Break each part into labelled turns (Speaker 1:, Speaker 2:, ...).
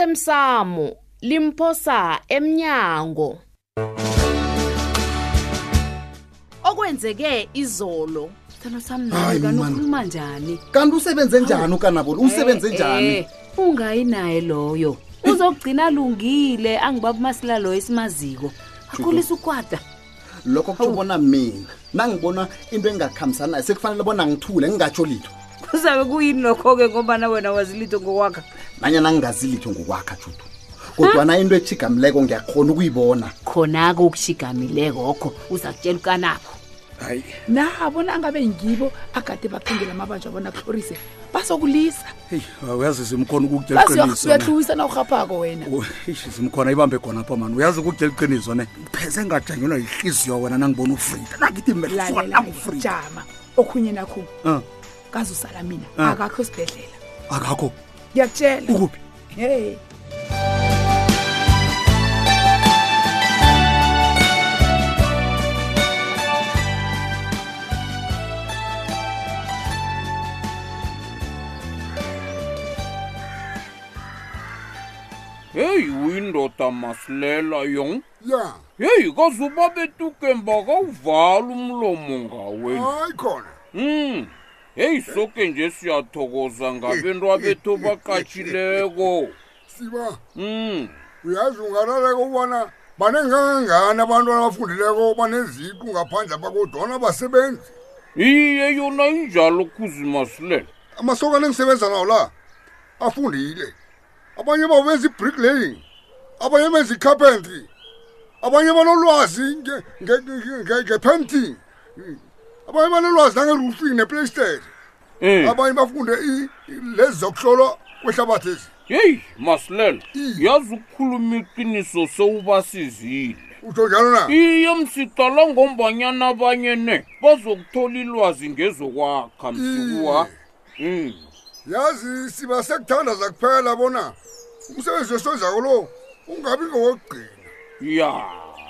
Speaker 1: osemsamo limphosa emnyango okwenzeke izolo
Speaker 2: sithando sami
Speaker 3: Hayi,
Speaker 2: nawe kanti
Speaker 3: man.
Speaker 2: ukhuluma njani
Speaker 3: kanti usebenze njani ukanabona usebenze
Speaker 2: Eh,
Speaker 3: njani
Speaker 2: eh, ungayi naye loyo uzogcina alungile angibaba umasila loyo esimaziko akhulisa ukwada
Speaker 3: lokho kutsho bona mina nangibona into engingakhambisani nayo sekufanele bona ngithule ngingatsho litho
Speaker 2: kuzabe kuyini lokho-ke ngobana wena wazilito ngokwakha
Speaker 3: nanyana ngingazi litho ngokwakha judu kodwana into echigamileko ngiyakhona ukuyibona
Speaker 2: khona-ke okushigamilekokho uzakutshela ukanabo
Speaker 3: hayi
Speaker 4: nabo nangabe ngibo agade baphindela amabanjwa bona kuhlorise basokulisa
Speaker 5: heyi uyazi zimkhona ukukutshela iqiniso ne.
Speaker 4: basiuyahluwisa na urhaphako wena
Speaker 5: Oh, eish, zimkhona ibambe khona apha mani uyazi ukukutshela iqiniso ne pheze ngajangelwa yihliziyo wena nangibona ufrida nangithi
Speaker 4: lalela
Speaker 5: mmelangufrida
Speaker 4: jama okhunye nakho
Speaker 5: um
Speaker 4: kazusala mina
Speaker 5: Ah.
Speaker 4: akakho sibhedlela
Speaker 5: akakho
Speaker 4: ngiyakutshela
Speaker 5: ukuphi
Speaker 4: hey
Speaker 6: heyi uyindoda masilela yong
Speaker 7: ya
Speaker 6: heyi kazuba betukemba kawuvala umlomo ngaweni
Speaker 7: hayi khona
Speaker 6: um heyi soke nje siyathokoza ngabento abethu baqatshileko
Speaker 7: siba
Speaker 6: um
Speaker 7: uyazi ungalaleka ubana banengangangani abantu abafundileko baneziqu ngaphandle abakodwana basebenzi
Speaker 6: iye yona injalo khuzi masilela
Speaker 7: amasokana engisebenza nawo la afundile abanye babo benza i-bricklaying abanye benza i-carpentry abanye banolwazi nge- nge- nge- nge- nge-painting Mm. abanye banolwazi nange-roofing neplaystad
Speaker 6: um
Speaker 7: abanye bafunde i- i- lezi zokuhlolwa kwehlabathi ezi
Speaker 6: heyi masilela
Speaker 7: Mm.
Speaker 6: yazi ukukhuluma iqiniso sewubasizile
Speaker 7: utsho njalo na
Speaker 6: iye msidala ngombanyana abanye ne bazokuthola ilwazi ngezokwakha msikuwa um
Speaker 7: yazi siba sekuthandaza kuphela bona umsebenzi wesonzako lo ungabi ngowokugcina
Speaker 6: ya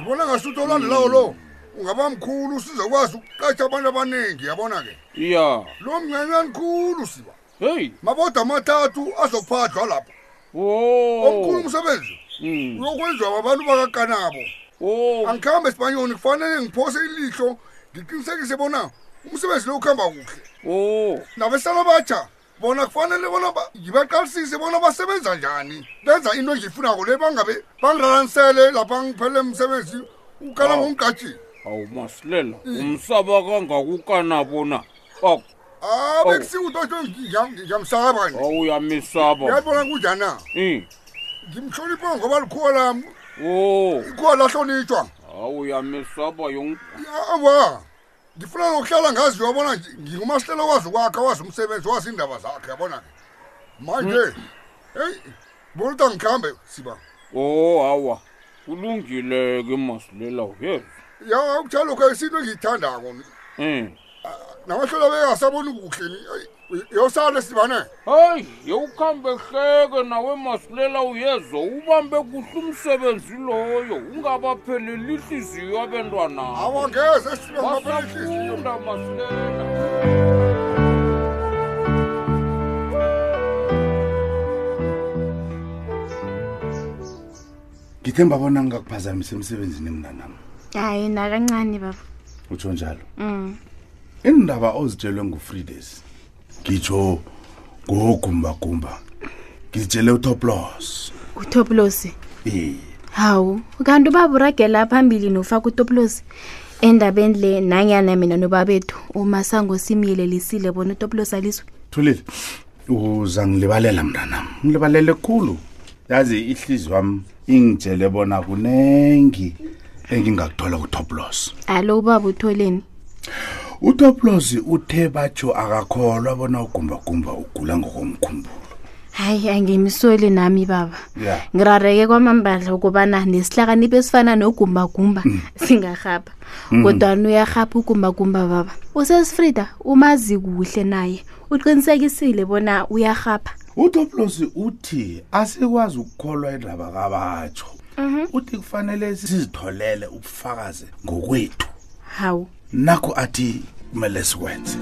Speaker 7: ngibona ngasuthi olandelawo lo ungaba mkhulu sizokwazi ukuqasha abantu abaningi yabona-ke
Speaker 6: ya
Speaker 7: lo mncancane khulu siba
Speaker 6: heyi
Speaker 7: maboda amathathu azophadlwa lapho omkhulu
Speaker 6: o
Speaker 7: umsebenzi
Speaker 6: Mm.
Speaker 7: uyokwenziwa babantu bakakanabo
Speaker 6: o
Speaker 7: angikhambe esibanyoni kufanele ngiphose ilihlo ngiqinisekise bona umsebenzi lo ukuhamba kuhle
Speaker 6: o
Speaker 7: nabesana batsha bona kufanele bona ba- ngibaqalisise bona basebenza njani benza into engiyifunako le bangabe bangiranisele lapha ngiphelele msebenzi ukala ngomgajini
Speaker 6: awu masilela umsaba kangakukana bona aw
Speaker 7: abe kusika utoto ngiyamsaba
Speaker 6: Oh.
Speaker 7: nje
Speaker 6: awuyamesaba
Speaker 7: uyalibona kunjana
Speaker 6: um
Speaker 7: ngimhlonipha ngoba likhuwa lami
Speaker 6: o
Speaker 7: ikhuwa lahlonitshwa
Speaker 6: awuyamesaba yong
Speaker 7: awa ngifuna nokuhlala ngaziwa bona nje ngingumasilela owazi kwakhe wazi umsebenzi wazi iindaba zakhe yabona-ke manje eyi bona uta ngikhambe siba
Speaker 6: o hawa kulungileke masilela uyeza
Speaker 7: ya ukutshela lokho isinto engiyithandako
Speaker 6: um
Speaker 7: namahlola bekasaboni kuhle ni Ayi, uy- yosale sibane
Speaker 6: hayi yewukhambe hleke nawe masilela uyezo ubambe kuhle umsebenzi loyo ungabapheleli ihliziyo abentwana
Speaker 7: awangeze sibaaphelihlizio
Speaker 6: basafunda masilela
Speaker 8: ngithemba bona ngingakuphazamisa emsebenzini mnanami
Speaker 9: hayi nakancane baba
Speaker 8: utsho njalo
Speaker 9: um
Speaker 8: indaba ozitshelwe ngufridays ngitsho ngogumbagumba ngitshele utoplos
Speaker 9: utopulosi
Speaker 8: iye
Speaker 9: hawu kanti ubaba uragela phambili nofaka utopulosi endabeni le nanyana mina nobabethu umasango simyelelisile bona utopulosi alizwe
Speaker 8: thulile uza ngilibalela mnanam ngilibalele khulu yazi ihlizi wami ingitshele bona kunengi engingakuthola kutoplos
Speaker 9: alo ubaba utholeni
Speaker 8: utoplos uthe batsho akakholwa bona ugumbagumba ugula ngokomkhumbulo
Speaker 9: hayi angimisoli nami baba
Speaker 8: Ya.
Speaker 9: ngirareke kwamambadla ukubana nesihlakanipho esifana nogumbagumba singarhapha kodwani uyarhapha ugumbagumba baba usesifrida umazi kuhle naye uqinisekisile bona uyarhapha
Speaker 8: utoplos uthi asikwazi ukukholwa indaba kabatsho uthi kufanele sizitholele ubufakazi ngokwethu
Speaker 9: hawu
Speaker 8: nakho athi kumele sikwenze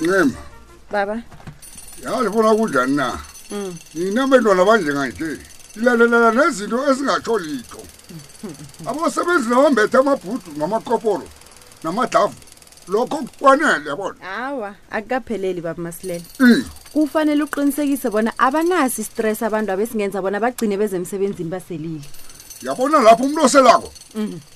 Speaker 7: ncema
Speaker 10: baba
Speaker 7: yazi bona kunjani na nina bentwana banjenganje ilalelana nezinto ezingatsho litho abasebenzi nabambethe amabhudu namakoporo namadlavu lokho kwanele yabona
Speaker 10: hawa akukapheleli baba masilela
Speaker 7: I,
Speaker 10: kufanele uqinisekise bona abanasi istress abantu abesingenza bona bagcine bezemsebenzini baselile
Speaker 7: yabona lapho umuntu oselako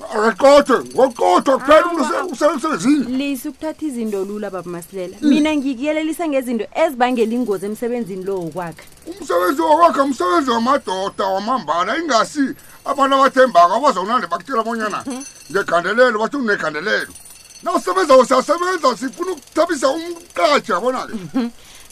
Speaker 7: akaqothwe ngoqothwa kuphela umuntu usemsebenzini
Speaker 10: lisi ukuthatha izinto lula baba masilela mina ngikuyelelisa ngezinto ezibangela ingozi emsebenzini lo wokwakha
Speaker 7: umsebenzi wakwakhe umsebenzi wamadoda wamambala ingasi abantu abathembako abazonande bakutshela abonyana ngegandelelo bathi unegandelelo nawusebenzawo siyasebenza sifuna ukuthabisa umqaji yabona-ke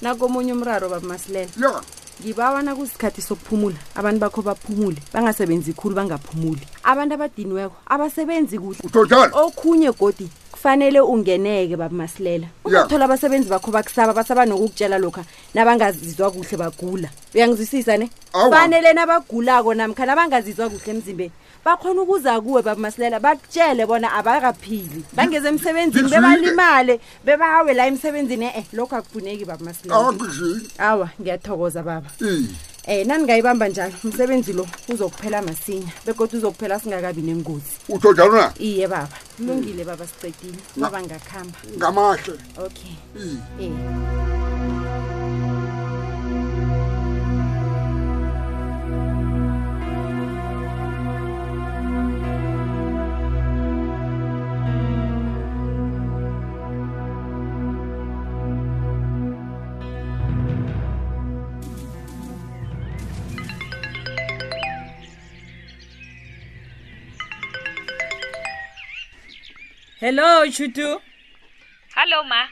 Speaker 10: nakomunye umraro baba masilela
Speaker 7: ya
Speaker 10: ngibawana kusikhathi sokuphumula abantu bakho baphumule bangasebenzi khulu bangaphumuli abantu abadiniweko abasebenzi kuhle
Speaker 7: utho
Speaker 10: Oh.
Speaker 7: njalo
Speaker 10: okhunye godi kufanele ungeneke baba masilela
Speaker 7: Ya.
Speaker 10: uzothola abasebenzi bakho bakusaba basaba nokukutshela lokha nabangazizwa kuhle bagula uyangizwisisa ne
Speaker 7: Awa.
Speaker 10: kufanele nabagulako namkha nabangazizwa kuhle emzimbeni bakhona ukuza kuwe baba masilela bakutshele bona abakaphili bangeze emsebenzini
Speaker 7: ngizwile.
Speaker 10: bebalimale bebawe la emsebenzini e-e lokho akufuneki baba masilela
Speaker 7: angizini
Speaker 10: awa ngiyathokoza baba
Speaker 7: i
Speaker 10: um naningayibamba njalo umsebenzi lo uzokuphela masinya begodwa uzokuphela singakabi nengozi
Speaker 7: utho njalo na
Speaker 10: iye baba kulungile baba sicedile baba ngakuhamba
Speaker 7: ngamahle
Speaker 10: okay
Speaker 7: i
Speaker 10: eh hello shutu
Speaker 11: hallo ma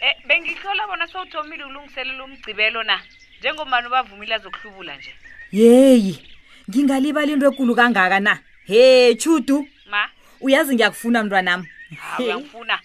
Speaker 11: eh, bengihlola bona sowuthomile ulungiselela umgcibelo na njengomani ubavumile azokuhlubula nje
Speaker 12: yeyi ngingalibali into ekulu kangaka na he chudu
Speaker 11: ma
Speaker 12: uyazi ngiyakufuna mntwanam
Speaker 11: hawu uyangifuna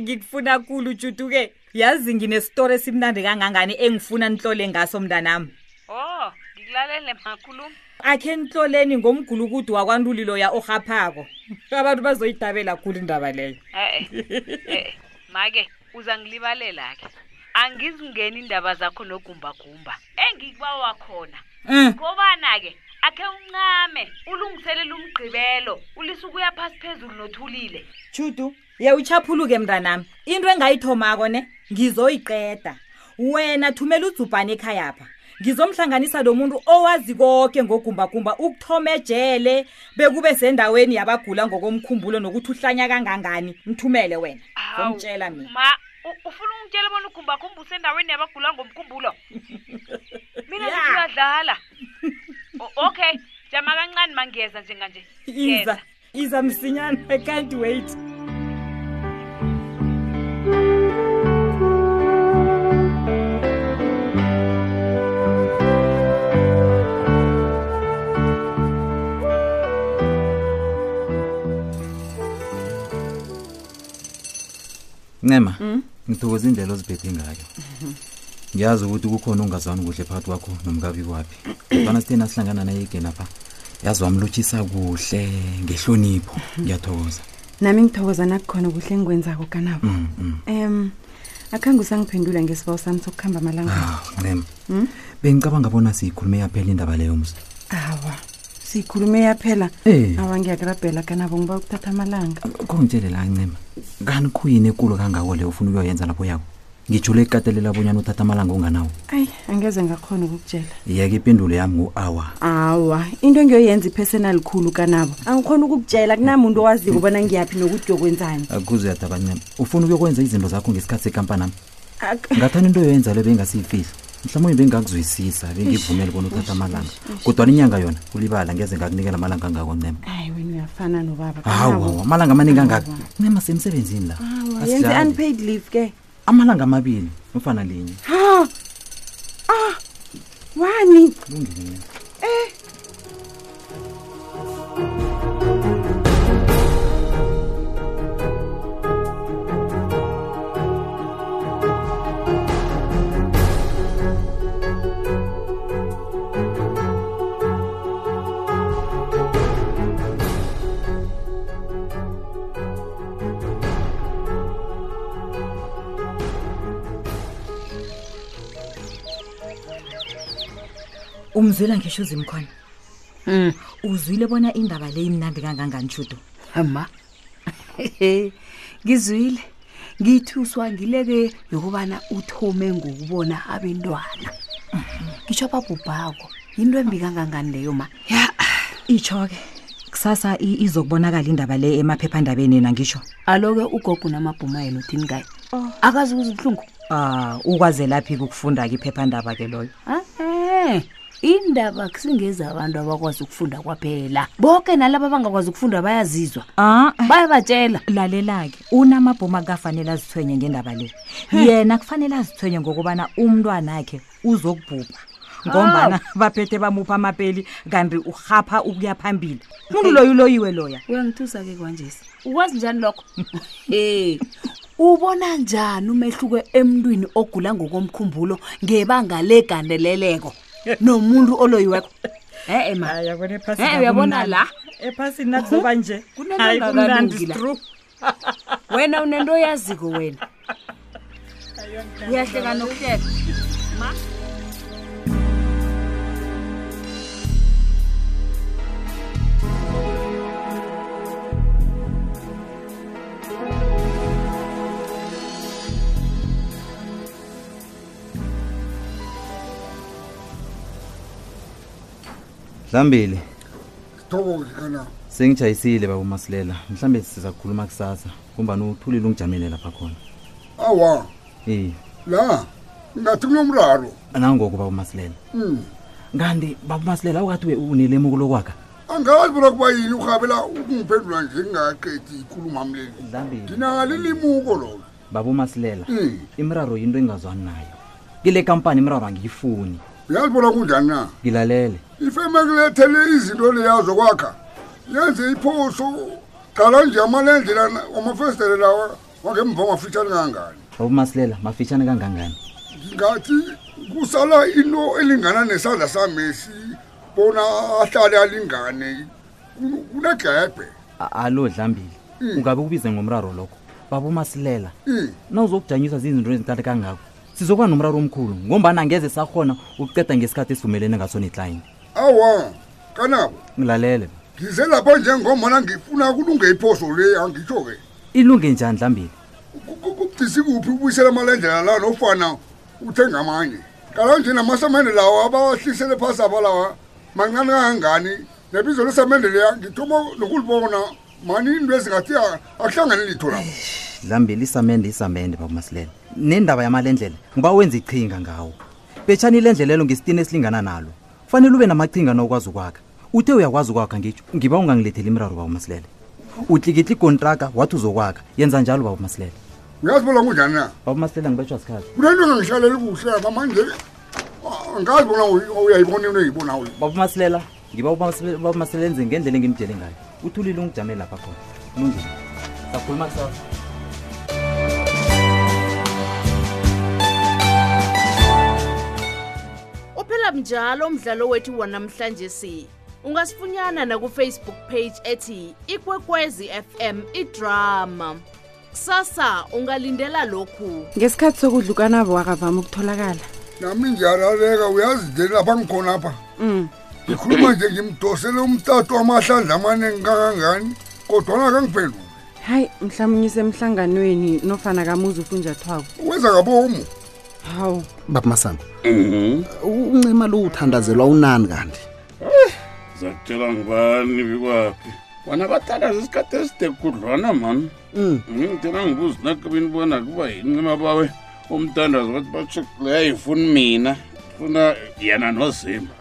Speaker 12: ngikufuna kulu chudu ke yazi nginestori esimnandi kangangani engifuna nihlole ngaso mntanam
Speaker 11: oh ngikulalele makhuluma
Speaker 12: akhe nihloleni ngomgulukudu wakwantulilo ya orhaphako abantu bazoyidabela khulu indaba leyo
Speaker 11: e-e make uzangilibalela-ke angizingeni iindaba zakho nogumbagumba engikuba wakhona
Speaker 12: Mm.
Speaker 11: kobana-ke akhe uncame ulungiselela umgqibelo ulise ukuya phasi phezulu nothulile
Speaker 12: chudu yawuchaphuluke mntanam into engayithomako ne ngizoyiqeda wena thumela udzubhane ekhayapha ngizomhlanganisa nomuntu owazi konke ngogumbagumba ukuthoma ejele bekube sendaweni yabagula ngokomkhumbulo nokuthi uhlanya kangangani mthumele wena ngomtshela mina
Speaker 11: ma u- ufuna ungitshela bona ugumbagumba usendaweni yabagula ngomkhumbulo mina ngithi uyadlala O- okay jama kancane mangeza njenganje
Speaker 12: iza iza msinyana i can't wait
Speaker 13: ncema
Speaker 10: Mm.
Speaker 13: ngithokoza indlela oziphethe ngayo ngiyazi ukuthi kukhona ungazwani kuhle phakathi kwakho nomkabi kwaphi kodwana sitheni asihlangana naye igena pha yazi wamlotshisa kuhle ngehlonipho ngiyathokoza
Speaker 10: nami ngithokoza nakukhona kuhle engikwenzako kanabo
Speaker 13: Mm, mm.
Speaker 10: um akhange usangiphendula ngesibawu sami sokuhamba amalanga
Speaker 13: ncema
Speaker 10: Mm?
Speaker 13: Ah, bengicabanga bona siyikhulume yaphela indaba leyo mzi
Speaker 10: awa siyikhulume yaphela
Speaker 13: Eh.
Speaker 10: awa ngiyakurabhela kanabo ngiba ukuthatha amalanga
Speaker 13: kongitshele la ncema kanti khuyini ekulu kangako leyo ufuna ukuyoyenza lapho yakho ngijule ekukatelela bonyana uthatha amalanga onganawo
Speaker 10: ayi angeze ngakhona ukukutshela
Speaker 13: yeke impendulo yami ngu-awa
Speaker 10: awa into engiyoyenza iphesenalikhulu kanabo angikhona ukukutshela kunamuntu owaziko bona ngiyaphi nokuthi yokwenzani
Speaker 13: akuze uyadaba ncema ufuna ukuyokwenza izinto zakho ngesikhathi sekampanami
Speaker 10: Ak-
Speaker 13: ngathani into yoyenza le bengasiyifihla mhlawumbe bengakuzwisisa bengivumele bona uthatha amalanga
Speaker 10: ish.
Speaker 13: kodwa inyanga yona ulibala ngeze ngakunikela amalanga angako ncema
Speaker 10: hayi wena uyafana nobaba
Speaker 13: hawa amalanga amaningi angako ncema semsebenzini la
Speaker 10: yenze
Speaker 13: Asidlali.
Speaker 10: unpaid leave ke
Speaker 13: amalanga amabili ofana linye
Speaker 10: ha ah wani
Speaker 13: Kulungile.
Speaker 12: umzwela ngisho uzimkhona
Speaker 2: Mm.
Speaker 12: uzwile bona indaba le imnandi kangangani shudo
Speaker 2: ma ngizwile ngithuswa ngileke yokubana uthome ngokubona abentwana ngitsho babhubhako yinto embi kangangani leyo ma
Speaker 12: ya itsho-ke kusasa i- izokubonakala indaba le emaphephandabeni nangisho
Speaker 2: alo-ke ugogo namabhuma yena uthini kaye akazi ukuze ubuhlungu
Speaker 12: um ukwazelaphi-ke ukufunda-ke iphephandaba-ke loyo
Speaker 2: a-e indaba kusingeza abantu abakwazi ukufunda kwaphela boke nalaba abangakwazi ukufunda bayazizwa
Speaker 12: Ah,
Speaker 2: bayabatshela
Speaker 12: lalela-ke unamabhoma kafanele azithwenye ngendaba le yena kufanele azithwenye ngokubana umntwanakhe uzokubhubha ngombana baphethe bamupha amapeli kanti urhapha ukuya phambili umuntu loyo uloyiwe loya
Speaker 2: uyangithusa-ke kwanjesi ukwazi njani lokho e ubona njani umehluko emntwini ogula ngokomkhumbulo ngebanga legandeleleko nomuntu oloyiweko e-e ma Eh, uyabona la
Speaker 12: ephasini nakuzoba nje Hayi, kumnandi,
Speaker 2: kunenangakalungi
Speaker 12: it's
Speaker 2: la
Speaker 12: true.
Speaker 2: wena unento oyaziko wena
Speaker 12: uyahleka nokuhleka ma
Speaker 13: mhlambili
Speaker 7: sithokoze kana
Speaker 13: sengijayisile baba umasilela mhlawumbe siza kukhuluma kusasa kumbani uthulile ungijamele lapha khona
Speaker 7: awa
Speaker 13: Eh,
Speaker 7: la ngathi kunomraro
Speaker 13: nangoku baba umasilela
Speaker 7: Mm.
Speaker 13: kanti baba umasilela ukathi unelemuko lokwakha
Speaker 7: angazi bona kuba yini urhabela ukungiphendula nje ngingaqedi ikhuluma mleli nginalilimuko lolo
Speaker 13: baba umasilela
Speaker 7: Mm.
Speaker 13: imiraro yinto engazwani nayo kile kampani imiraro angiyifuni
Speaker 7: uyazi bona kunjani na
Speaker 13: ngilalele
Speaker 7: ifemekulethele izinto leyazo kwakha yenze iphoso qala nje amalendlela amafestere lawa wangemva ngafitshani kangani
Speaker 13: baba umasilela mafitshane kangangani
Speaker 7: ngathi kusala into elingana nesandla samesi bona ahlale alingane Ku- kunegebhe
Speaker 13: A- alo dlambili
Speaker 7: Mm.
Speaker 13: ungabe kubize ngomraro lokho baba umasilela
Speaker 7: Mm.
Speaker 13: nawuzokujanyiswa zizinto ezintathe kangako sizokuba nomraro omkhulu ngombana angeze sakhona ukuceda ngesikhathi esivumelene ngaso neclayini
Speaker 7: awa kanabo
Speaker 13: ngilalele
Speaker 7: ngize lapha njengomana ngifuna kulunge iphoso le angitsho-ke
Speaker 13: ilunge njani dlambili
Speaker 7: kubudisi kuphi ukubuyisela amalendlela la nofana uthenga amanye kala nje namasamende lawa abawahlisele phasi apha lawa mancane kangangani nebizo lesamende leya ngithoma nokulibona mani into ezingathi a- akuhlangane litho lapo
Speaker 13: dlambili isamende isamende baba umasilela nendaba yamalendlela ngoba wenza ichinga ngawo betshani ilendlelelo ngesitini esilingana nalo kufanele ube namachinga nawukwazi ukwakha uthe uyakwazi ukwakha ngitsho ngiba ungangiletheli imraro baba umasilela utlikitla ikontraka wathi uzokwakha yenza njalo baba umasilela
Speaker 7: uyazi bona kunjani na
Speaker 13: baba umasilela ngibetshwa sikhathi
Speaker 7: kunento engangihlaleli kuhle apha manje ah, angazi bona uy- uyayibona into engiyibonayo
Speaker 13: baba umasilela ngiba ubamasilenze ngendlela engimtshele ngayo uthulile ungijamele lapha khona lungile sakhuluma kusasa
Speaker 1: uphela mnjalo umdlalo wethu wanamhlanje si ungasifunyana nakufacebook page ethi ikwekwezi fm idrama kusasa ungalindela lokhu
Speaker 14: ngesikhathi sokudlukanabo wakavama ukutholakala
Speaker 7: nami ngiyalaleka uyazi nje lapha ngikhona apha ngikhuluma nje ngimdosele umtato wamahlandla amaningi kangangani kodwana kangiphendula
Speaker 14: hayi mhlawumbe usemhlanganweni nofana kamuzi ufunjathwako
Speaker 7: wenza ngabomu
Speaker 14: hawu
Speaker 3: babumasango uncima lo uthandazelwa unani kanti
Speaker 6: zakutshelwa ngubani bikwaphi bona bathakaza isikhathi eside kudlwana mani ngidela ngibuza nakabini bona kuba yincima bawe umtandazo wathi batsho leyo ayifuni mina funa yena nozimba